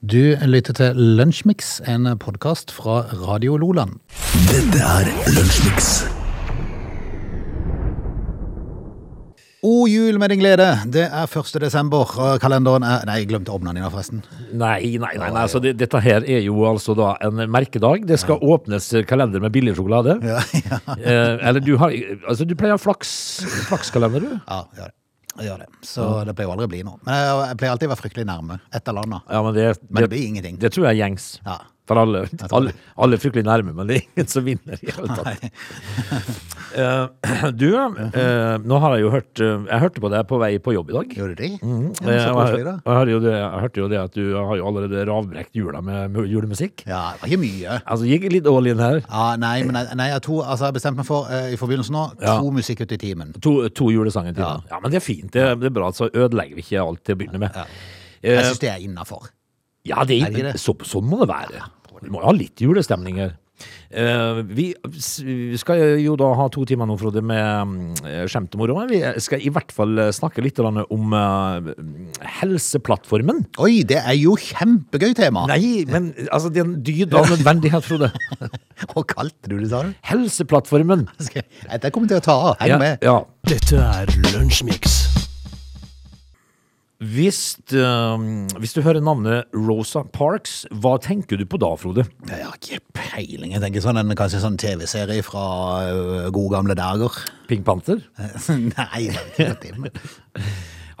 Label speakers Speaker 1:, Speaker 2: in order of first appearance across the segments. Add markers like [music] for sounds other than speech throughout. Speaker 1: Du lytter til Lunsjmix, en podkast fra Radio Loland.
Speaker 2: Dette er Lunsjmix.
Speaker 1: O jul med din glede! Det er 1. desember. og Kalenderen er Nei, jeg glemte å åpne den i dag, forresten.
Speaker 3: Nei, nei, nei, nei. Altså, det, dette her er jo altså da en merkedag. Det skal åpnes kalender med billig sjokolade.
Speaker 1: Ja, ja.
Speaker 3: [laughs] Eh, eller du har Altså, du pleier å ha flaks, flakskalender, du.
Speaker 1: [laughs] Ja, jeg gjør det. Jeg gjør det. Så det pleier jo aldri å bli noe. Men jeg, jeg pleier alltid å være fryktelig nærme et eller annet.
Speaker 3: Ja, men det,
Speaker 1: Men det blir ingenting.
Speaker 3: Det tror jeg er gjengs.
Speaker 1: Ja.
Speaker 3: For alle.
Speaker 1: tror
Speaker 3: Alle, alle er fryktelig nærme, men det er ingen som vinner i det hele tatt. [laughs] Eh, du, eh, nå har jeg jo hørt eh, Jeg hørte på deg på vei på jobb i dag.
Speaker 1: Gjorde du det? Ja,
Speaker 3: Eh,
Speaker 1: men så
Speaker 3: og jeg,
Speaker 1: koselig, da.
Speaker 3: og jeg, hørte jo det, jeg hørte jo det at du har jo allerede ravbrekt jula med mu- julemusikk.
Speaker 1: Ja, det var ikke mye.
Speaker 3: Altså, gikk litt all in her.
Speaker 1: Ja, nei, men jeg, nei, jeg, to, altså, jeg bestemte meg for eh, i forbindelsen nå to
Speaker 3: Ja.
Speaker 1: musikk ut i timen.
Speaker 3: To, to julesanger til.
Speaker 1: Ja.
Speaker 3: Ja. ja, men det er fint. Det, det er bra, så ødelegger vi ikke alt til å begynne med.
Speaker 1: Ja. Jeg
Speaker 3: Eh,
Speaker 1: syns det er innafor.
Speaker 3: ja, det,
Speaker 1: Er det ikke det?
Speaker 3: Så, sånn må det være. Vi må jo ha litt julestemning her. Eh, vi s- vi skal jo da ha to timer nå, Frode, med eh, skjemt og moro. Vi skal i hvert fall eh, snakke litt grann om eh, Helseplattformen.
Speaker 1: Oi, det er jo kjempegøy tema!
Speaker 3: Nei, men altså, det er en dyd av nødvendighet, Frode.
Speaker 1: [laughs] Hva kalte du det, sa du?
Speaker 3: Helseplattformen.
Speaker 1: Skal jeg- Dette kommer jeg til å ta av. Heng med.
Speaker 3: ja.
Speaker 2: Dette er Lunsjmix.
Speaker 3: Hvis, eh, hvis du hører navnet Rosa Parks, hva tenker du på da, Frode?
Speaker 1: Jeg har ikke peiling. Jeg tenker sånn en kanskje sånn TV-serie fra ø, gode gamle dager. [laughs]
Speaker 3: Pink Panther?
Speaker 1: Nei, det er ikke til. men-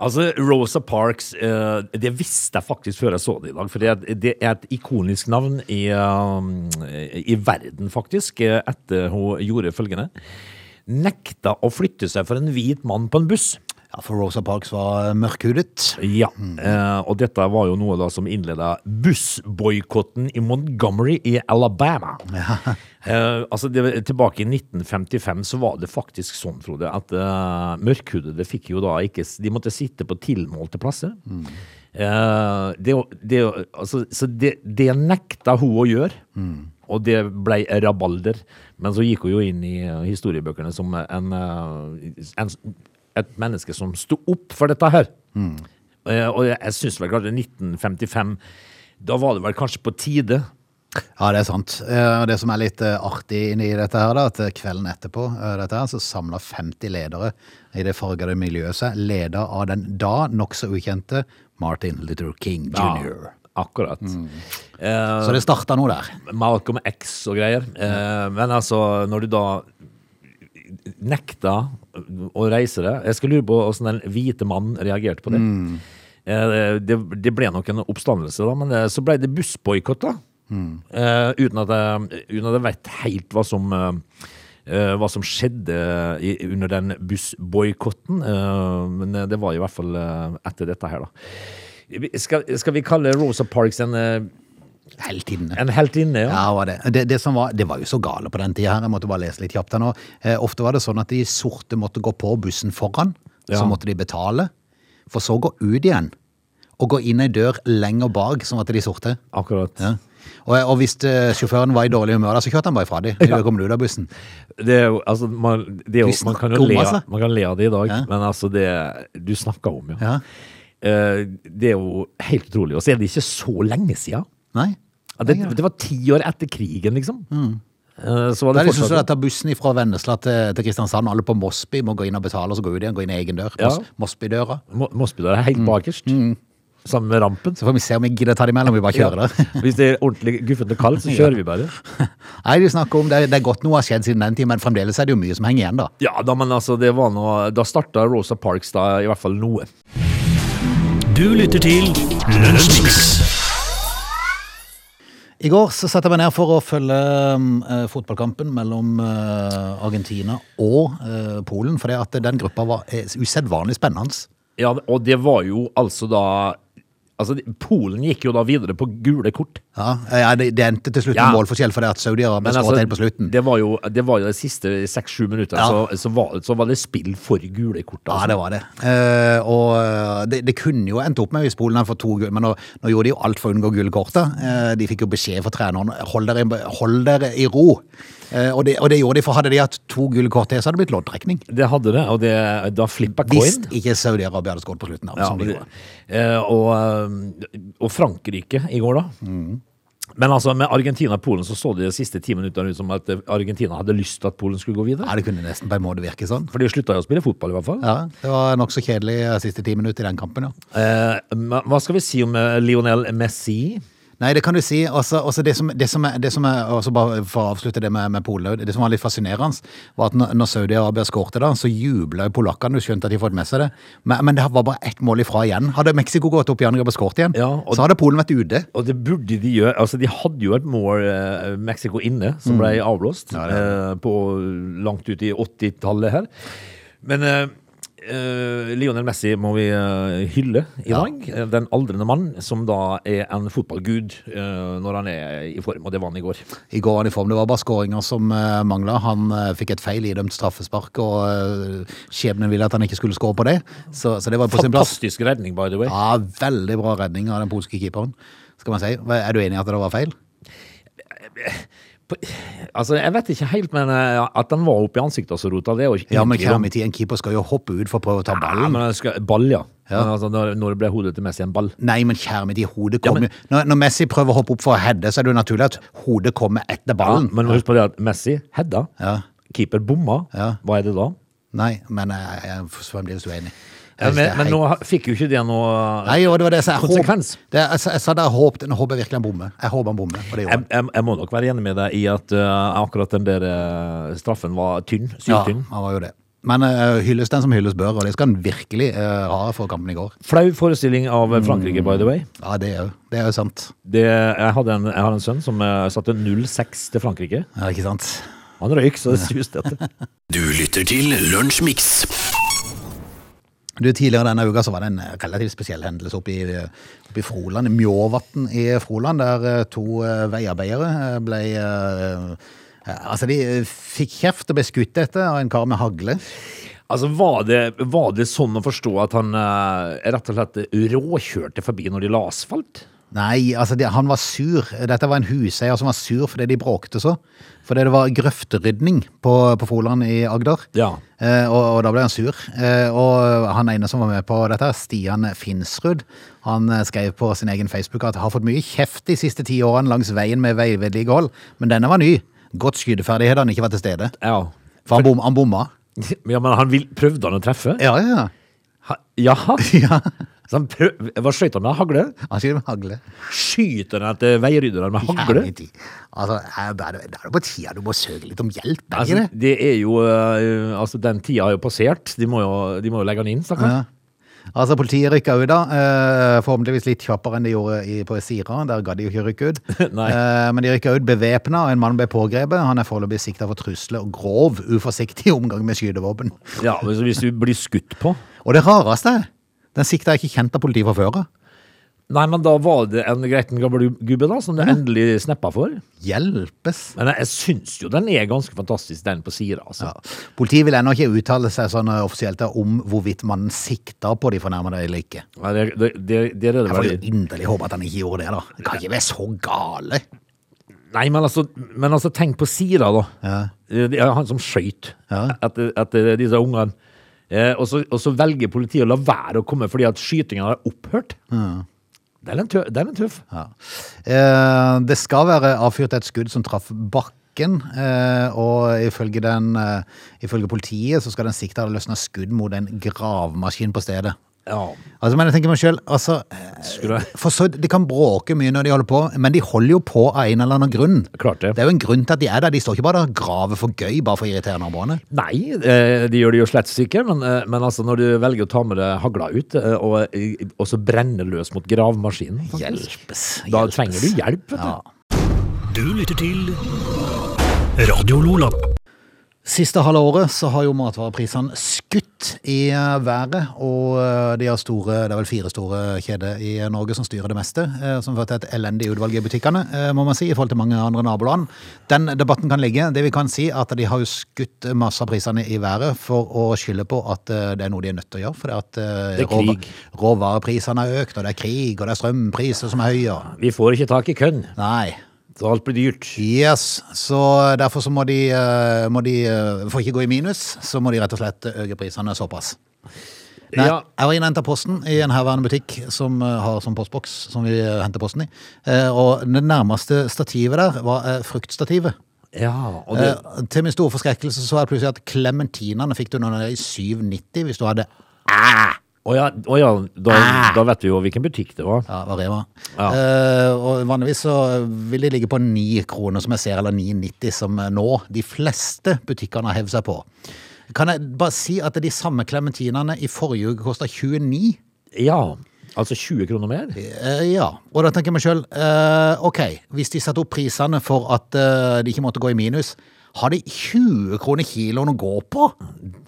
Speaker 3: Altså, Rosa Parks, eh, det visste jeg faktisk før jeg så det i dag, for det er, det er et ikonisk navn i, eh, i verden, faktisk, eh, etter hun gjorde følgende. Nekta å flytte seg for en hvit mann på en buss.
Speaker 1: Ja, for Rosa Parks var øh, mørkhudet.
Speaker 3: Ja, eh, og dette var jo noe da som innleda bussboikotten i Montgomery i Alabama. [laughs] Eh, altså det, Tilbake i 1955 så var det faktisk sånn, Frode, at eh, mørkhudede fikk jo da ikke s- De måtte sitte på tilmålte plasser. Eh, det, å- det, å- altså, så det, det nekta hun å gjøre. Og det ble rabalder. Men så gikk hun jo inn i eh, historiebøkene som en, eh, en, et menneske som sto opp for dette her. Eh, Og jeg, jeg syns vel kanskje 1955 Da var det vel kanskje på tide.
Speaker 1: Ja, det er sant. Eh, Og det som er litt ø, artig inni dette her, da, at øh, kvelden etterpå ø, dette her, så samla 50 ledere i det fargede miljøet seg, leda av den da nokså ukjente Martin Luther King jr.
Speaker 3: akkurat. Eh,
Speaker 1: Så det starta nå der.
Speaker 3: Malcolm X og greier. Eh, men altså, når du da nekta å reise deg Jeg skal lure på åssen den hvite mannen reagerte på det.
Speaker 1: Mm.
Speaker 3: Eh, det. Det ble nok en oppstandelse, da, men eh, så ble det bussboikott, da.
Speaker 1: Mm.
Speaker 3: Eh, uten at jeg, uten at jeg vet helt hva som eh, eh, hva som skjedde i, under den bussboikotten. eh, men eh, det var i hvert fall eh, etter dette her, da. Vi- Skal, skal vi kalle Rosa Parks en, eh,
Speaker 1: Heltinne.
Speaker 3: en heltinne? Ja?
Speaker 1: Ja, det var det. Det, det, som var, det var jo så gale på den tida her, jeg måtte bare lese litt kjapt her nå. Eh, ofte var det sånn at de sorte måtte gå på bussen foran, så
Speaker 3: Ja.
Speaker 1: måtte de betale, for så gå ut igjen, og gå inn ei dør lenger bak, sånn at de sorte.
Speaker 3: Akkurat.
Speaker 1: Ja. Og, og hvis eh, sjåføren var i dårlig humør, da, så kjørte han bare ifra de. Da kom du ut av bussen.
Speaker 3: Det er jo, altså, man, det er jo,
Speaker 1: Du
Speaker 3: man, kan
Speaker 1: snakker
Speaker 3: jo
Speaker 1: om,
Speaker 3: le,
Speaker 1: altså.
Speaker 3: man kan le av det i dag,
Speaker 1: Ja.
Speaker 3: men altså det du snakker om, ja.
Speaker 1: Ja.
Speaker 3: Eh, det er jo helt utrolig. Og så er det ikke så lenge siden.
Speaker 1: Nei? Mm.
Speaker 3: Ja, Det, det var ti år etter krigen, liksom. Eh, så var
Speaker 1: Det
Speaker 3: det
Speaker 1: er liksom sånn
Speaker 3: fortsatt
Speaker 1: at ta bussen fra Vennesla til, til Kristiansand, og alle på Mosby må gå inn og betale, og så gå ut igjen, gå inn i egen dør.
Speaker 3: Ja.
Speaker 1: Mos, Mosby-døra.
Speaker 3: Mo- Mosby der er
Speaker 1: Mm.
Speaker 3: helt bakerst. Sammen med rampen.
Speaker 1: Så får vi se om vi gidder ta det imellom, vi bare kjører der. [laughs]
Speaker 3: Hvis det er ordentlig guffent og kaldt, så kjører vi bare.
Speaker 1: Nei, de snakker om det, det er godt noe har skjedd siden den tid, men fremdeles er det jo mye som henger igjen, da.
Speaker 3: Ja, da, men altså, det var noe, da starta Rosa Parks da i hvert fall noe.
Speaker 2: Du lytter til Lunsjmix.
Speaker 1: I går så satte jeg meg ned for å følge mm, eh, fotballkampen mellom eh, Argentina og eh, Polen, for at den gruppa var eh, usedvanlig spennende.
Speaker 3: Ja, og det var jo altså da Altså, Polen gikk jo da videre på gule kort.
Speaker 1: Ja, eh, ja, det, det endte til slutt med
Speaker 3: Ja.
Speaker 1: målforskjell fordi at Saudi-Arabia
Speaker 3: Men
Speaker 1: skåret
Speaker 3: altså,
Speaker 1: helt på slutten.
Speaker 3: Det var jo det, var jo de siste seks-sju minuttene,
Speaker 1: Ja.
Speaker 3: så, så, var, så var det spill for gule kort.
Speaker 1: Ja,
Speaker 3: Altså.
Speaker 1: det var det. Eh, og eh, det, det kunne jo endt opp med hvis Polen hadde fått to gull, men nå, nå gjorde de jo alt for å unngå gullkortet. Eh, de fikk jo beskjed fra treneren hold dere, hold dere i ro. Eh, og, det, og det gjorde de, for hadde de hatt to gullkort til, så hadde det blitt loddtrekning.
Speaker 3: det hadde det, og det, da flippa coin.
Speaker 1: Hvis ikke Saudi-Arabia hadde skåret på slutten. av,
Speaker 3: Ja,
Speaker 1: som de
Speaker 3: det-
Speaker 1: gjorde.
Speaker 3: eh, og og Frankrike i går, da.
Speaker 1: Mm.
Speaker 3: Men altså, med Argentina og Polen så så det de siste ti minuttene ut som at eh, Argentina hadde lyst til at Polen skulle gå videre.
Speaker 1: Ja, det kunne nesten på en måte virke sånn.
Speaker 3: For de slutta jo å spille fotball, i hvert fall.
Speaker 1: Ja, Det var nokså kjedelig eh, siste ti minutter i den kampen, ja.
Speaker 3: Eh, men hva skal vi si om eh, Lionel Messi?
Speaker 1: Nei, det kan du si. Altså, altså det, som, det som er, det som er altså bare For å avslutte det med, med Polen, det som var litt fascinerende, var at når når Saudi-Arabia skårte, da, så jubla polakkene. Du skjønte at de fått med seg det. Men, men det var bare ett mål ifra igjen. Hadde Mexico gått opp i andre og skåret igjen,
Speaker 3: Ja, og-
Speaker 1: så hadde Polen vært ute.
Speaker 3: Og det burde de gjøre. Altså, de hadde jo et mål, eh, Mexico inne,
Speaker 1: Mm.
Speaker 3: som ble avblåst eh, på langt ut i 80-tallet her. Men eh, eh, Lionel Messi må vi eh, hylle i
Speaker 1: Ja.
Speaker 3: dag. Eh, Den aldrende mann som da er en fotballgud eh, når han er i form, og det var han i går.
Speaker 1: I går var han i form. Det var bare skåringer som uh, mangla. Han eh, fikk et feil idømt straffespark, og eh, skjebnen ville at han ikke skulle skåre på det. Så, så det var på sin plass.
Speaker 3: Fantastisk redning, by the way.
Speaker 1: Ja, Veldig bra redning av den polske keeperen, skal man si. Hva- Er du enig i at det var feil?
Speaker 3: På- Altså, Jeg vet ikke helt, men eh, at han var oppe i ansiktet og så rota, det er jo ikke
Speaker 1: Ja, men
Speaker 3: ingen tvil om.
Speaker 1: kjære min tid, en keeper skal jo hoppe ut for å prøve å ta
Speaker 3: Ja,
Speaker 1: ballen.
Speaker 3: men han skal, Ball, ja. Men, altså, når, når ble hodet til Messi en ball?
Speaker 1: Nei, men kjære min tid, hodet
Speaker 3: Ja,
Speaker 1: kommer
Speaker 3: men-
Speaker 1: når, når Messi prøver å hoppe opp for å heade, så er det jo naturlig at hodet kommer etter
Speaker 3: Ja,
Speaker 1: ballen.
Speaker 3: men husk på det at Messi hedda,
Speaker 1: Ja.
Speaker 3: keeper bomma.
Speaker 1: Ja.
Speaker 3: Hva er det da?
Speaker 1: Nei, men eh, jeg, jeg er fremdeles uenig. Jeg synes
Speaker 3: men,
Speaker 1: det er
Speaker 3: men
Speaker 1: helt-
Speaker 3: nå ha- fikk jo ikke det noe
Speaker 1: Nei, og det var det jeg sa. Jeg håp-
Speaker 3: Konsekvens.
Speaker 1: Det, jeg, sa- jeg sa det, jeg håpet, nå håper jeg virkelig han bommer. Jeg håper han bommer, og det gjorde
Speaker 3: jeg,
Speaker 1: han.
Speaker 3: jeg, jeg må nok være enig med deg i at eh, akkurat den der eh, straffen var tynn.
Speaker 1: Ja,
Speaker 3: Syltynn.
Speaker 1: han var jo det. Men eh, hylles den som hylles bør, og det skal han virkelig eh, ha for kampen i går.
Speaker 3: Flau forestilling av
Speaker 1: Mm.
Speaker 3: Frankrike, by the way.
Speaker 1: Ja, det er jo, det er jo sant.
Speaker 3: Det, jeg, hadde en, jeg har en sønn som eh, satte 0-6 til Frankrike.
Speaker 1: Ja, ikke sant?
Speaker 3: Han røyk, så det suste etter. [laughs]
Speaker 2: Du lytter til Lunsjmix.
Speaker 1: Du, Tidligere denne uka så var det en eh, relativt spesiell hendelse oppe i, oppe i Froland, i Mjåvatn i Froland, der eh, to eh, veiarbeidere eh, ble eh, eh, Altså, de eh, fikk kjeft og ble skutt etter av en kar med hagle.
Speaker 3: Altså, var det, var det sånn å forstå at han eh, rett og slett råkjørte forbi når de la asfalt?
Speaker 1: Nei, altså, de, han var sur. Dette var en huseier som var sur fordi de bråkte så. Fordi det var grøfterydning på, på Froland i Agder.
Speaker 3: Ja.
Speaker 1: Eh, og, og da ble han sur. Eh, og han ene som var med på dette, her, Stian Finsrud, han eh, skrev på sin egen Facebook at har fått mye kjeft de siste ti årene langs veien med veivedlikehold, men denne var ny. Godt skyteferdighet, han ikke var til stede.
Speaker 3: Ja. [laughs]
Speaker 1: For han, bom, han bomma.
Speaker 3: ja men han vil, prøvde han å treffe?
Speaker 1: Ja, ja,
Speaker 3: Ha, jaha?
Speaker 1: [laughs] ja.
Speaker 3: Så han prøv, hva skjøt han med hagle?
Speaker 1: Han skyter med hagle.
Speaker 3: Skyter han etter veirydderen med hagle?
Speaker 1: Herlig tid. Altså, er- da er det da er det på tida du må søke litt om hjelp, er
Speaker 3: Altså,
Speaker 1: ikke det?
Speaker 3: det er jo eh, Altså, den tida har jo passert. De må jo, de må jo legge han inn, stakkar.
Speaker 1: Ja. Altså, Politiet rykka ut, da. eh, Forhåpentligvis litt kjappere enn de gjorde i, på Sira. Der ga de jo ikke rykke ut.
Speaker 3: [laughs] Nei.
Speaker 1: Eh, Men de rykka ut bevæpna, og en mann ble pågrepet. Han er foreløpig sikta for trusler og grov uforsiktig omgang med skytevåpen.
Speaker 3: Ja, men så hvis du blir skutt på
Speaker 1: Og det rareste er, den sikta er ikke kjent av politiet fra før av.
Speaker 3: Nei, men da var det en greiten gammel gubbe, da, som du endelig snappa for.
Speaker 1: Hjelpes.
Speaker 3: Men jeg, jeg syns jo den er ganske fantastisk, den på Sira, altså.
Speaker 1: Ja. Politiet vil ennå ikke uttale seg sånn eh, offisielt om hvorvidt mannen sikta på de fornærmede eller ikke.
Speaker 3: Nei, det, det, det, det er det
Speaker 1: Jeg får jo
Speaker 3: veldig-
Speaker 1: inderlig håpe at han ikke gjorde det, da. Det kan ikke være så gale.
Speaker 3: Nei, men altså, men altså tenk på Sira, da. Eh, Det er han som skøyt
Speaker 1: Ja.
Speaker 3: etter, etter disse ungene. Eh, og, så, og så velger politiet å la være å komme fordi at skytingen har opphørt. Den, er tø den er tøff.
Speaker 1: Ja. Eh, det skal være avfyrt et skudd som traff bakken, eh, og ifølge, den, eh, ifølge politiet så skal den sikta ha løsna skudd mot en gravemaskin på stedet.
Speaker 3: Ja.
Speaker 1: Altså, men jeg tenker meg selv, altså, eh,
Speaker 3: Skulle jeg
Speaker 1: for så, De kan bråke mye når de holder på, men de holder jo på av en eller annen grunn.
Speaker 3: klart det.
Speaker 1: Det er jo en grunn til at de er der. De står ikke bare der og graver for gøy, bare for å irritere naboene.
Speaker 3: Nei, eh, de gjør det jo slett ikke, men, eh, men altså når du velger å ta med deg hagla ut eh, og, og så brenne løs mot gravemaskinen faktisk,
Speaker 1: Hjelpes.
Speaker 3: Da
Speaker 1: hjelpes.
Speaker 3: trenger du hjelp, vet du.
Speaker 1: Ja.
Speaker 2: Du lytter til Radio Lola.
Speaker 1: Siste halve året så har jo matvareprisene skutt i eh, været, og eh, de har store, det er vel fire store kjeder i eh, Norge som styrer det meste, eh, som fører til et elendig utvalg i butikkene, eh, må man si, i forhold til mange andre naboland. Den debatten kan ligge. Det vi kan si er at de har jo skutt masse av prisene i været for å skylde på at eh, det er noe de er nødt til å gjøre, for at eh,
Speaker 3: Det er
Speaker 1: råva-
Speaker 3: krig.
Speaker 1: råvareprisene har økt, og det er krig, og det er strømpriser som er høye.
Speaker 3: Vi får ikke tak i kønn,
Speaker 1: Nei,
Speaker 3: så alt blir dyrt.
Speaker 1: Yes, så derfor så må de, eh, må de eh, For ikke gå i minus, så må de rett og slett øke prisene såpass. Nei,
Speaker 3: Ja.
Speaker 1: Jeg var inne og henta posten i en herværende butikk som eh, har sånn postboks som vi eh, henter posten i. Eh, Og det nærmeste stativet der var eh, fruktstativet.
Speaker 3: Ja, og det,
Speaker 1: Eh, Til min store forskrekkelse så var det plutselig at klementinene fikk du når det er i 7,90 hvis du hadde
Speaker 3: å ja, å ja da,
Speaker 1: Ah.
Speaker 3: da vet vi jo hvilken butikk det var.
Speaker 1: Ja, hva det var.
Speaker 3: Ja.
Speaker 1: Eh, og vanligvis så vil de ligge på 9 kroner, som jeg ser, eller 9,90 som eh, nå de fleste butikkene har hevd seg på. Kan jeg bare si at de samme klementinene i forrige uke kosta 29?
Speaker 3: Ja, altså 20 kroner mer?
Speaker 1: Eh, ja. Og da tenker jeg meg sjøl, OK, hvis de setter opp prisene for at eh, de ikke måtte gå i minus, har de 20 kroner kiloen å gå på?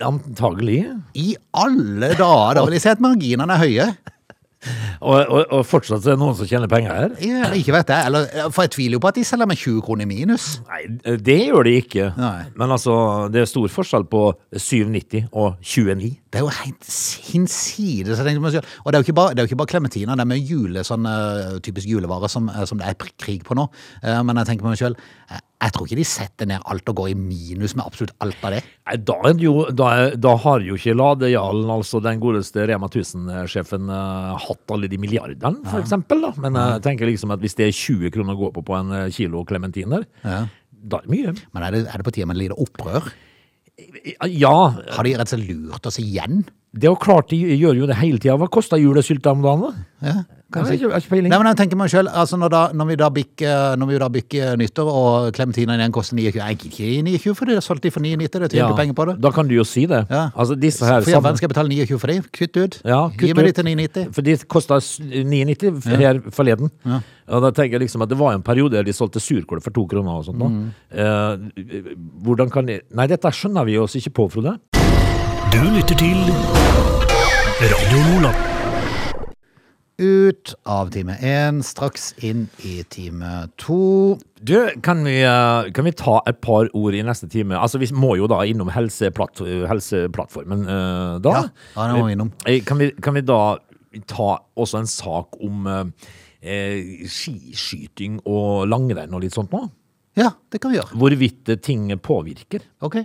Speaker 3: Antagelig.
Speaker 1: I alle dager! Da vil jeg si at marginene er høye.
Speaker 3: Og, og, og fortsatt er det noen som tjener penger her?
Speaker 1: Ja, ikke vet jeg, eller, eh, For jeg tviler jo på at de selger med 20 kroner i minus.
Speaker 3: Nei, det gjør de ikke.
Speaker 1: Nei.
Speaker 3: Men altså, det er stor forskjell på 7,90 og 29.
Speaker 1: Det er jo helt hinsides. jeg tenkte på meg selv. Og det er jo ikke bare, det er jo ikke bare klementiner, det er mye jule, sånn, eh, typisk julevare som, eh, som det er pr- krig på nå. Eh, men jeg tenker på meg sjøl, jeg, jeg tror ikke de setter ned alt og går i minus med absolutt alt av det.
Speaker 3: Nei, Da, er det jo, da, er- da har jo ikke Ladejarlen, altså den godeste Rema 1000-sjefen, eh, hatt alle de milliardene, for eksempel. Da. Men jeg tenker liksom at hvis det er 20 kroner å gå på på en eh, kilo klementiner, da er det mye.
Speaker 1: Men er det, er det på tide med et lite opprør?
Speaker 3: Ja,
Speaker 1: Har de rett og slett lurt oss igjen?
Speaker 3: det er jo klart de gjør jo det hele tida. Hva kosta julesylte om dagen? da?
Speaker 1: Ja,
Speaker 3: Jeg har
Speaker 1: kanskje.
Speaker 3: ikke- jeg har ikke peiling.
Speaker 1: Nei, men jeg tenker meg selv, altså når, da, når, vi da bikker, når vi da bikker nyttår og klementinene igjen koster 29 Jeg gidder ikke i 29 for det, det er solgt de for 99, det er tjent
Speaker 3: Ja,
Speaker 1: penger på det.
Speaker 3: Da kan du jo si det.
Speaker 1: Ja.
Speaker 3: Altså disse her
Speaker 1: For i all verden skal jeg betale 29 for det? Kutt ut.
Speaker 3: Ja, kutt
Speaker 1: Gi meg de
Speaker 3: ut.
Speaker 1: til 990.
Speaker 3: For de kosta 9,90 her forleden. Og da tenker jeg liksom at det var en periode der de solgte surkål for to kroner og sånt. da.
Speaker 1: Mm.
Speaker 3: Eh, hvordan kan de Nei, dette skjønner vi oss ikke på, Frode.
Speaker 2: Du lytter til Radio Lola.
Speaker 1: Ut av time én, straks inn i time to.
Speaker 3: Du, kan vi, eh, kan vi ta et par ord i neste time? Altså, Vi må jo da innom helseplatt, Helseplattformen eh, da.
Speaker 1: Ja, ja, det må vi innom.
Speaker 3: Eh, Kan vi, kan vi da ta også en sak om eh, eh, skiskyting og langrenn og litt sånt nå?
Speaker 1: Ja, det kan vi gjøre.
Speaker 3: Hvorvidt eh, ting påvirker.
Speaker 1: Ok.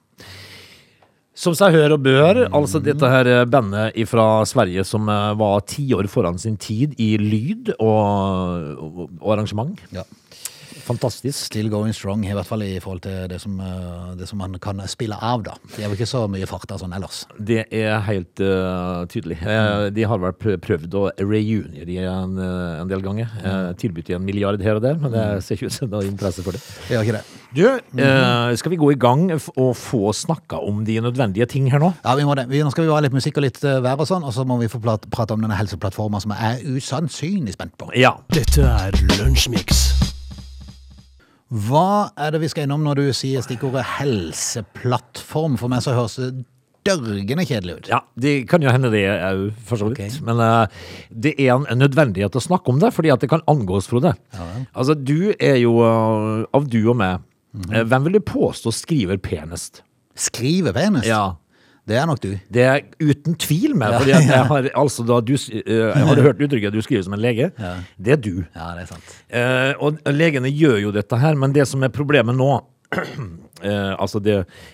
Speaker 3: Som seg hør og bør, altså dette her eh, bandet fra Sverige som eh, var tiår foran sin tid i lyd og, og, og arrangement.
Speaker 1: Ja.
Speaker 3: Fantastisk.
Speaker 1: Still going strong, i hvert fall i forhold til det som, eh, det som man kan spille av, da. Det er jo ikke så mye fart av sånn ellers.
Speaker 3: Det er helt eh, tydelig. Eh, de har vel prø- prøvd å reunere en, eh, en del ganger. Uh, tilbudt i en milliard her og der, men det ser ikke ut som det er interesse for det.
Speaker 1: Det gjør ikke det.
Speaker 3: Du, eh, skal vi gå i gang f- og få snakka om de nødvendige ting her nå?
Speaker 1: Ja, vi må det. Vi, nå skal vi ha litt musikk og litt eh, vær og sånn, og så må vi få plat- prate om denne helseplattforma som jeg er usannsynlig spent på.
Speaker 3: Ja.
Speaker 2: Dette er Lunsjmix.
Speaker 1: Hva er det vi skal innom når du sier stikkordet helseplattform? For meg så høres det dørgende kjedelig ut.
Speaker 3: Ja, det kan jo hende det òg, for så vidt.
Speaker 1: Ok.
Speaker 3: Men eh, det er en nødvendighet å snakke om det, fordi at det kan angås, Frode. Altså, du er jo, eh, av du og meg, eh, hvem vil du påstå skriver penest?
Speaker 1: Skrive penest?
Speaker 3: Ja.
Speaker 1: Det er nok du.
Speaker 3: Det er uten tvil med, fordi at jeg har, altså, da du, s- eh, jeg har hørt uttrykket at du skriver som en lege. Det er du.
Speaker 1: Ja, det er sant.
Speaker 3: Eh, og legene gjør jo dette her, men det som er problemet nå [clears throat] eh, altså det,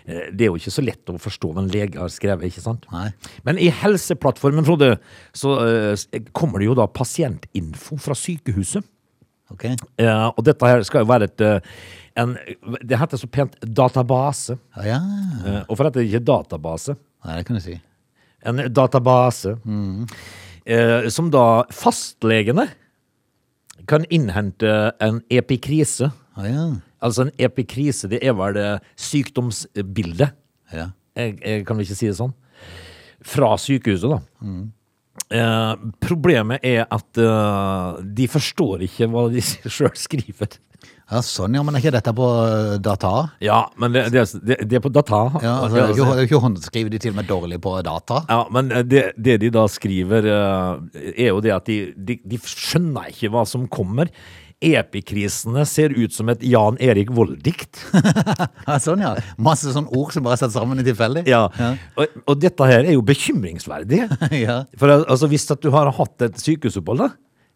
Speaker 3: eh, det er jo ikke så lett å forstå hva en lege har skrevet, ikke sant?
Speaker 1: Nei.
Speaker 3: Men i Helseplattformen, Frode, så eh, s- kommer det jo da pasientinfo fra sykehuset.
Speaker 1: Ok.
Speaker 3: Eh, og dette her skal jo være et eh, en, Det heter så pent database.
Speaker 1: Ja, ja.
Speaker 3: Eh, og for at det ikke er database,
Speaker 1: Nei, det kan du si.
Speaker 3: en database eh, som da fastlegene kan innhente en epikrise.
Speaker 1: Å ja.
Speaker 3: Altså en epikrise, det er vel det sykdomsbildet.
Speaker 1: ja.
Speaker 3: Jeg, jeg kan vel ikke si det sånn. Fra sykehuset, da. Eh, problemet er at eh, de forstår ikke hva de [laughs] sjøl skriver.
Speaker 1: Ja, sånn, ja. Men er ikke dette på eh, data?
Speaker 3: Ja, men det, det, er- det, det er på data.
Speaker 1: Ja, altså, det er jo ikke, det er jo ikke håndskriv, de er til og med dårlig på data.
Speaker 3: Ja, men det, det de da skriver, eh, er jo det at de, de, de skjønner ikke hva som kommer. Epikrisene ser ut som et Jan Erik Vold-dikt.
Speaker 1: Ja, sånn, ja. Masse sånne ord som bare er satt sammen i tilfeldig.
Speaker 3: Ja. Og, og dette her er jo [laughs] bekymringsverdig.
Speaker 1: Ja.
Speaker 3: For al- altså, hvis at du har hatt et sykehusopphold, da,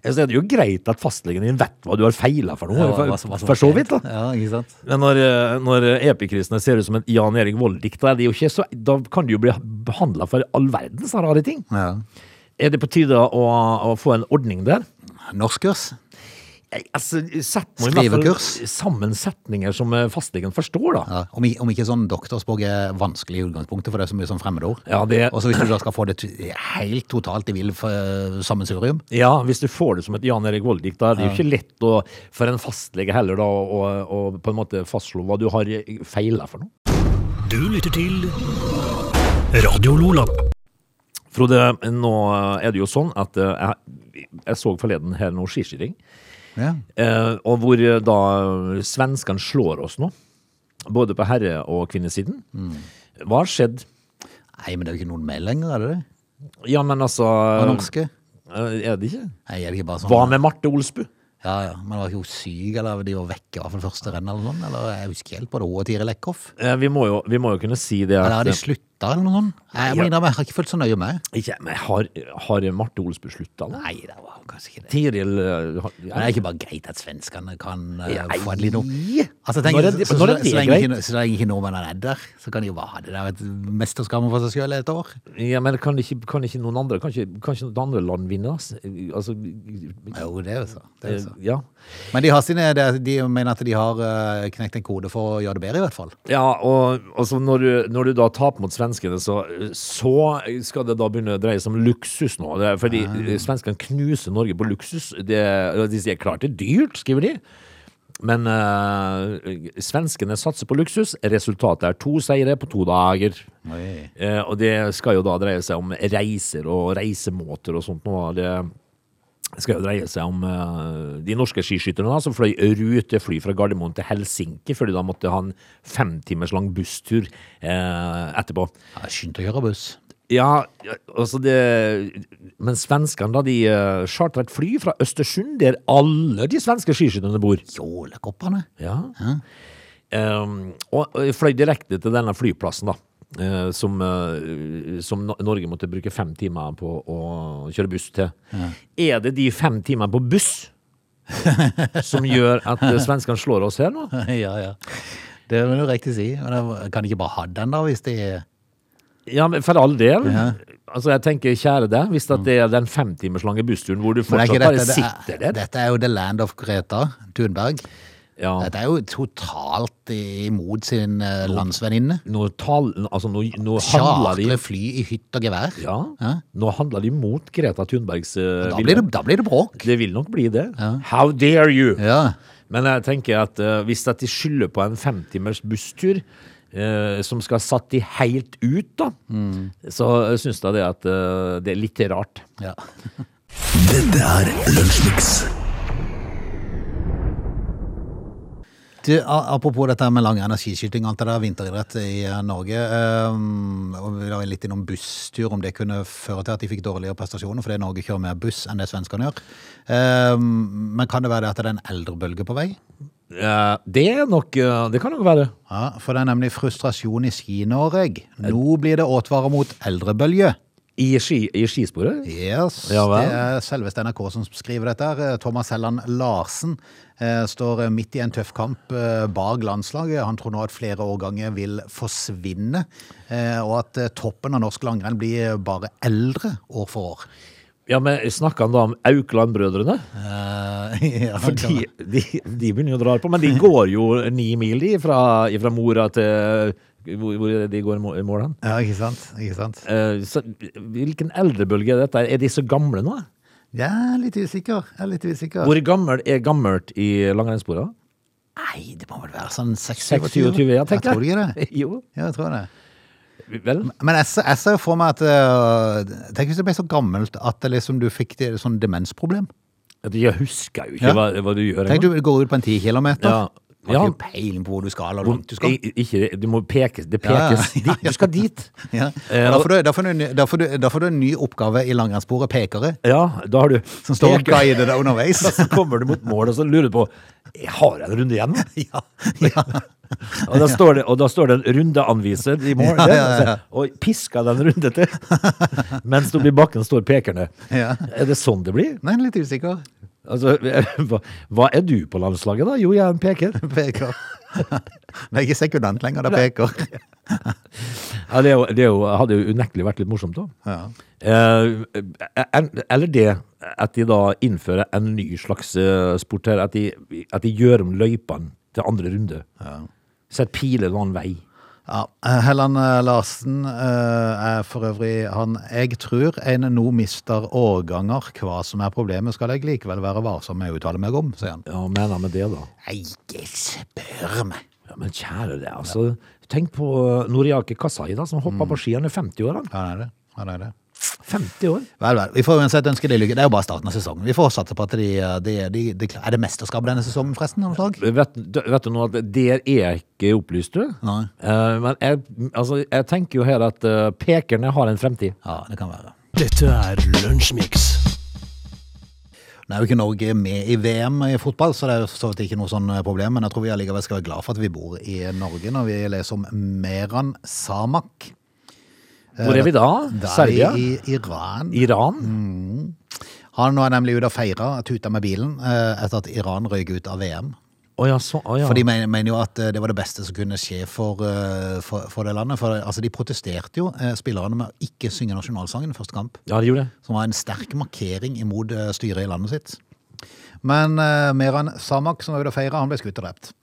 Speaker 3: eh, så er det jo greit at fastlegen din vet hva du har feila for noe.
Speaker 1: Ja, hva- hva som-
Speaker 3: for,
Speaker 1: hva som
Speaker 3: for så
Speaker 1: skjer.
Speaker 3: vidt, da.
Speaker 1: Ja, ikke sant?
Speaker 3: Men når, eh, når epikristene ser ut som et Jan Erik Vold-dikt, da, er det jo ikke så- da kan du jo bli behandla for all verdens rare ting.
Speaker 1: Ja.
Speaker 3: Er det på tide å, å få en ordning der?
Speaker 1: Norskkurs?
Speaker 3: Jeg- Altså, sett nå i hvert fall
Speaker 1: Skrivekurs?
Speaker 3: Sammen setninger som eh, fastlegen forstår, da.
Speaker 1: Ja. Om, i- om ikke sånn doktorspråk er vanskelig i utgangspunktet, for det er så mye sånn fremmedord.
Speaker 3: Ja, det-
Speaker 1: Og så hvis du da skal få det t- helt totalt i vill eh, sammensurium.
Speaker 3: Ja, hvis du får det som et Jan Erik Vold-dikt, da er det jo ikke lett å, for en fastlege heller da, å, å på en måte fastslå hva du har feila for noe.
Speaker 2: Du lytter til Radio Lola.
Speaker 3: Frode, nå er det jo sånn at eh, jeg, jeg så forleden her noe skiskyting,
Speaker 1: Ja.
Speaker 3: eh, og hvor eh, da svenskene slår oss nå, både på herre- og kvinnesiden.
Speaker 1: Mm.
Speaker 3: Hva har skjedd?
Speaker 1: Nei, men det er jo ikke noen med lenger, er det det?
Speaker 3: Ja, men altså
Speaker 1: Og norske?
Speaker 3: eh, Er det ikke?
Speaker 1: Nei, er det ikke bare sånn?
Speaker 3: Hva med Marte Olsbu?
Speaker 1: Ja, ja. Men var ikke hun syk, eller de var vekk i hvert fall første renn, eller sånn? Eller jeg husker helt på det, hun og Tiril Eckhoff.
Speaker 3: Eh, Vi må, jo, vi må jo kunne si det
Speaker 1: Eller
Speaker 3: at
Speaker 1: har de slutta, eller noe sånt? Nei, Jeg
Speaker 3: Ja.
Speaker 1: må innrømme, jeg har ikke følt så nøye med.
Speaker 3: ikke, men har, har Marte Olsbu slutta nå?
Speaker 1: Nei, det var kanskje ikke det.
Speaker 3: Tiril eh, har-
Speaker 1: Men det er ikke bare greit at svenskene kan eh,
Speaker 3: Nei.
Speaker 1: få en liten Altså, tenk,
Speaker 3: Når er
Speaker 1: så,
Speaker 3: det-
Speaker 1: så, så,
Speaker 3: når er det
Speaker 1: lenge
Speaker 3: greit?
Speaker 1: ikke, så lenge ikke nordmennene er der, så kan de jo bare ha det der et mesterskap for seg sjøl et år.
Speaker 3: Ja, men kan ikke, kan ikke noen andre Kan ikke, kan ikke noen andre land vinne? ass? Altså, eh,
Speaker 1: Jo, det er jo så. Det er jo så.
Speaker 3: ja.
Speaker 1: Men de, har sine, det- de mener at de har eh, knekt en kode for å gjøre det bedre, i hvert fall.
Speaker 3: ja, og altså, når, du, når du da taper mot svenskene, så, så skal det da begynne å dreie seg om luksus nå. Det er fordi
Speaker 1: Ah.
Speaker 3: eh, svenskene knuser Norge på luksus. Det, de sier klart det er dyrt, skriver de. Men eh, svenskene satser på luksus. Resultatet er to seire på to dager.
Speaker 1: Oi.
Speaker 3: Eh, og det skal jo da dreie seg om reiser og reisemåter og sånt. Nå. Det skal jo dreie seg om eh, de norske skiskytterne da, som fløy rutefly fra Gardermoen til Helsinki, før de da måtte ha en fem timers lang busstur eh, etterpå.
Speaker 1: Ja, Skynd deg å kjøre buss.
Speaker 3: Ja, altså det Men svenskene, da, de eh, chartra et fly fra Østersund, der alle de svenske skiskytterne bor.
Speaker 1: Jålekoppene.
Speaker 3: Ja. Ehm, og og jeg fløy direkte til denne flyplassen, da. eh, som, eh, som No- Norge måtte bruke fem timer på å kjøre buss til. Er det de fem timene på
Speaker 1: [laughs]
Speaker 3: buss som gjør at eh, svenskene slår oss her nå?
Speaker 1: [laughs] ja, ja. Det vil du riktig si. Men jeg kan ikke bare ha den, da, hvis de
Speaker 3: Ja, men for all del. Altså, jeg tenker, kjære deg, hvis at det er den femtimerslange bussturen hvor du
Speaker 1: Men er
Speaker 3: fortsatt
Speaker 1: ikke
Speaker 3: bare
Speaker 1: det er-
Speaker 3: sitter der
Speaker 1: Dette er jo the land of Greta Thunberg.
Speaker 3: ja.
Speaker 1: Dette er jo totalt imot sin eh, landsvenninne.
Speaker 3: Nå, tal, altså, nå, nå handler de
Speaker 1: Chartre fly i hytt og gevær.
Speaker 3: ja,
Speaker 1: Ja.
Speaker 3: Nå handler de mot Greta Thunbergs eh,
Speaker 1: Da
Speaker 3: vilje.
Speaker 1: blir det, da blir det bråk.
Speaker 3: Det vil nok bli det. How dare you!
Speaker 1: Ja.
Speaker 3: Men jeg tenker at eh, hvis at de skylder på en femtimers busstur, eh, som skal ha satt de helt ut, da,
Speaker 1: Mm.
Speaker 3: så syns jeg det at eh, det er litt rart.
Speaker 1: ja.
Speaker 2: Dette er Lunsjmix.
Speaker 1: Du, a- apropos dette med lang energiskyting, alt det der vinteridrett i eh, Norge. ehm, og vi var litt innom busstur, om det kunne føre til at de fikk dårligere prestasjoner, fordi Norge kjører mer buss enn det svenskene gjør. Ehm, men kan det være det at det er en eldrebølge på vei?
Speaker 3: Eh, det er nok eh, Det kan nok være.
Speaker 1: Ja, for det er nemlig frustrasjon i Ski-Norge. Nå blir det åtvarer mot eldrebølge.
Speaker 3: I, ski, i skisporet?
Speaker 1: Yes,
Speaker 3: Ja vel.
Speaker 1: det er selveste NRK som skriver dette. her. Thomas Helland Larsen eh, står midt i en tøff kamp eh, bak landslaget. Han tror nå at flere årganger vil forsvinne, eh, og at eh, toppen av norsk langrenn blir bare eldre år for år.
Speaker 3: Ja, men snakker han da om Aukland-brødrene?
Speaker 1: Eh, [laughs] ja,
Speaker 3: For de, de, de begynner jo å dra
Speaker 1: [laughs]
Speaker 3: på, men de går jo ni mil de fra, fra Mora til hvor, hvor er det de går i mål- i mål hen?
Speaker 1: ja, ikke sant? Ikke sant?
Speaker 3: Eh, så, hvilken eldrebølge er dette? Er de så gamle nå?
Speaker 1: Jeg er litt usikker. Jeg er litt usikker.
Speaker 3: Hvor gammel er gammelt i langrennssporet?
Speaker 1: Nei, det må vel være sånn 26-27?
Speaker 3: 26, ja, tenker
Speaker 1: Tror du ikke det?
Speaker 3: [laughs] Jo,
Speaker 1: Ja, jeg tror det.
Speaker 3: vel.
Speaker 1: Men jeg, ser- jeg ser for meg at eh, Tenk hvis det ble så gammelt at det liksom du fikk det, sånn demensproblem.
Speaker 3: Jeg husker jo ikke
Speaker 1: Ja.
Speaker 3: hva, hva du gjør.
Speaker 1: Tenk
Speaker 3: engang.
Speaker 1: du går ut på en 10 kilometer.
Speaker 3: Ja.
Speaker 1: Du har
Speaker 3: Ja.
Speaker 1: ikke peiling på hvor du skal, eller hvor langt du skal.
Speaker 3: I- Ikke, det må pekes. Det
Speaker 1: Ja, ja,
Speaker 3: pekes.
Speaker 1: [laughs] ja,
Speaker 3: dit. Du skal dit.
Speaker 1: Ja.
Speaker 3: Eh,
Speaker 1: Og Da får du- da får du en ny- da får du- da får du en ny oppgave i langrennssporet, pekere,
Speaker 3: Ja, da har du
Speaker 1: som står og
Speaker 3: Peker. [laughs]
Speaker 1: guider deg underveis.
Speaker 3: Så kommer du mot mål og så lurer du på Jeg har jeg en runde igjen.
Speaker 1: Ja, [laughs] ja.
Speaker 3: Og da står det, og da står det en rundeanviser i mål.
Speaker 1: Ja, ja, ja.
Speaker 3: Og pisker den runde til.
Speaker 1: [laughs]
Speaker 3: Mens du blir bakken, står pekerne.
Speaker 1: Ja.
Speaker 3: Er det sånn det blir?
Speaker 1: Nei, litt usikker.
Speaker 3: Altså, [laughs] hva, hva er du på landslaget, da? Jo, jeg er en peker. [laughs]
Speaker 1: Peker. Det er ikke sekundant lenger, det er peker.
Speaker 3: Ja, det, er jo, det er jo, hadde jo unektelig vært litt morsomt, da.
Speaker 1: Ja.
Speaker 3: Eh, en- eller det at de da innfører en ny slags eh, sport her. At de, at de gjør om løypene til andre runde. Sett piler en annen vei.
Speaker 1: Ja, Helland eh, Larsen eh, er for øvrig han Jeg tror en nå mister årganger. Hva som er problemet, skal jeg likevel være varsom med å uttale meg om, sier han.
Speaker 3: Ja, hva mener han med det, da?
Speaker 1: Nei, ikke spør meg.
Speaker 3: Ja, men kjære det, altså. Tenk på Noriaki Kasai, da, som hoppa på ski. Han er 50 år, han.
Speaker 1: Ja, det er det. Ja, det er det.
Speaker 3: 50 år.
Speaker 1: Vel, vel. Vi får uansett ønske de lykke. Det er jo bare starten av sesongen. Vi får satse på at de, eh, de, de, de klar- Er det mesterskap denne sesongen, forresten? av noe slag?
Speaker 3: Vet, vet du nå at der er jeg ikke opplyst, du?
Speaker 1: Nei.
Speaker 3: Eh, men jeg, altså, jeg tenker jo her at eh, pekerne har en fremtid.
Speaker 1: Ja, det kan være.
Speaker 2: Dette er Lunsjmix.
Speaker 1: Nå er jo ikke Norge med i VM i fotball, så det er jo for så vidt ikke noe sånn problem. Men jeg tror vi allikevel skal være glad for at vi bor i Norge når vi leser om Meran Samak.
Speaker 3: Hvor er vi da?
Speaker 1: Da er vi Mm.
Speaker 3: Serbia?
Speaker 1: i Iran.
Speaker 3: Iran?
Speaker 1: Han var nemlig ute og feira, tuta med bilen, eh, etter at Iran røyk ut av VM.
Speaker 3: Å ja, så, å, ja.
Speaker 1: For de men- mener jo at eh, det var det beste som kunne skje for, eh, for, for det landet. For altså, de protesterte jo, eh, spillerne, med å ikke synge nasjonalsangen første kamp.
Speaker 3: Ja, de gjorde det.
Speaker 1: Som var en sterk markering imot eh, styret i landet sitt. Men uh, Meran Samak, som var ute og feira, han ble skutt og drept.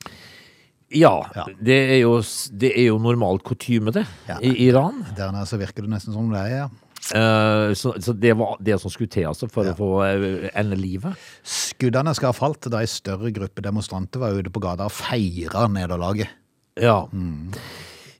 Speaker 3: Ja,
Speaker 1: Ja.
Speaker 3: Det, er jo, s- det er jo normalt kutyme, det,
Speaker 1: Ja.
Speaker 3: i Iran.
Speaker 1: Der nede så virker det nesten som det er. ja.
Speaker 3: Eh, så, så det var det som skulle til altså, for å få eh, ende livet.
Speaker 1: Skuddene skal ha falt da en større gruppe demonstranter var ute på gata og feira nederlaget.
Speaker 3: Ja.
Speaker 1: Mm.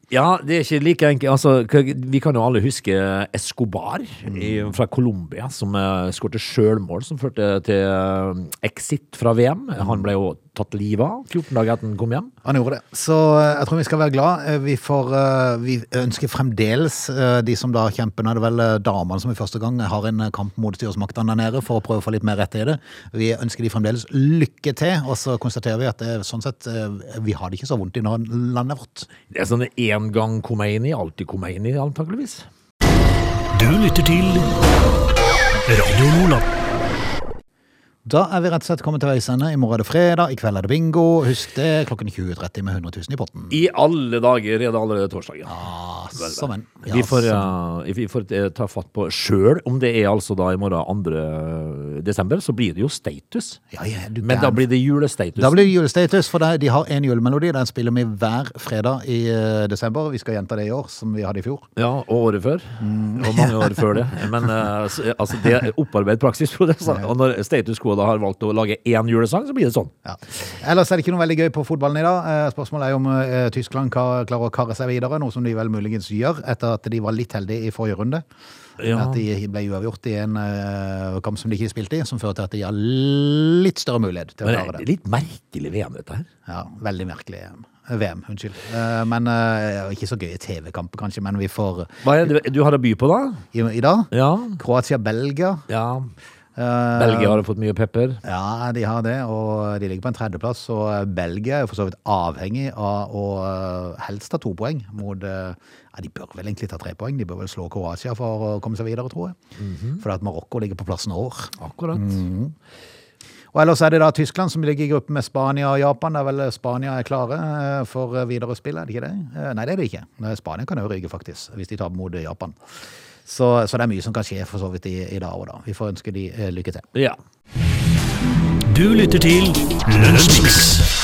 Speaker 3: ja, det er ikke like enkelt. Altså, k- vi kan jo alle huske Escobar
Speaker 1: Mm.
Speaker 3: i, fra Colombia, som uh, skåret sjølmål som førte til eh, exit fra VM.
Speaker 1: Mm.
Speaker 3: Han ble jo tatt livet av 14 dager etter han kom hjem.
Speaker 1: Han gjorde det. Så eh, jeg tror vi skal være glad. Eh, Vi, får, eh, vi ønsker fremdeles eh, de som da kjemper Nå er det vel eh, damene som i første gang har en eh, kamp mot styresmaktene der nede for å prøve å få litt mer rett i det. Vi ønsker de fremdeles lykke til, og så konstaterer vi at eh, sånn sett eh, vi har det ikke så vondt i nå- landet vårt.
Speaker 3: Det er sånn én gang Khomeini, alltid Khomeini, antakeligvis.
Speaker 2: Du lytter til Radio Lola.
Speaker 1: Da er vi rett og slett kommet til veis ende. I morgen er det fredag, i kveld er det bingo. Husk det, klokken 20.30 med 100 000 i potten.
Speaker 3: I alle dager er det allerede torsdag. Ja.
Speaker 1: Ah, som en. Ja,
Speaker 3: vi får,
Speaker 1: som-
Speaker 3: eh, vi får eh, ta fatt på sjøl om det er altså da i morgen 2. desember, så blir det jo status.
Speaker 1: Ja, ja, du
Speaker 3: Men da
Speaker 1: kan-
Speaker 3: blir det julestatus.
Speaker 1: Da blir det julestatus, for det- de har en julemelodi. Den spiller vi hver fredag i eh, desember. Vi skal gjenta det i år, som vi hadde i fjor.
Speaker 3: Ja, og året før. Og mange [laughs] år før det. Men eh, s- altså, det er opparbeidet praksis. Frode, så- Og når status quo da har valgt å lage én julesang, så blir det sånn.
Speaker 1: Ja. Ellers er det ikke noe veldig gøy på fotballen i dag. Eh, Spørsmålet er jo om eh, Tyskland ka- klarer å karre seg videre, noe som de vel muligens gjør, etter at de var litt heldige i forrige runde.
Speaker 3: Ja.
Speaker 1: At de ble uavgjort i en eh, kamp som de ikke spilte i, som førte til at de har litt større mulighet til å
Speaker 3: Men
Speaker 1: klare
Speaker 3: det
Speaker 1: det.
Speaker 3: er litt merkelig VM, dette her.
Speaker 1: Ja, veldig merkelig. eh, VM, unnskyld. Eh, Men eh, ikke så gøye TV-kamper, kanskje, men vi får
Speaker 3: Hva er det du har å by på, da?
Speaker 1: i, i dag.
Speaker 3: Ja.
Speaker 1: Kroatia-Belgia.
Speaker 3: ja.
Speaker 1: Eh,
Speaker 3: Belgia har fått mye pepper.
Speaker 1: Ja, de har det, og de ligger på en tredjeplass. Så Belgia er jo for så vidt avhengig av å eh, helst ta to poeng mot eh, Ja, de bør vel egentlig ta tre poeng. De bør vel slå Kroatia for å komme seg videre, tror jeg. Fordi at Marokko ligger på plassen over.
Speaker 3: Akkurat.
Speaker 1: Og ellers er det da Tyskland som ligger i gruppe med Spania og Japan. Der vel Spania er klare eh, for videre spill, er det ikke det? Eh, Nei, det er det ikke. Eh, Spania kan jo ryke, faktisk, hvis de tar mot Japan. Så, så det er mye som kan skje for så vidt i, i dag og da. Vi får ønske de eh, lykke til.
Speaker 3: Ja.
Speaker 2: Du lytter til Lunsjmix.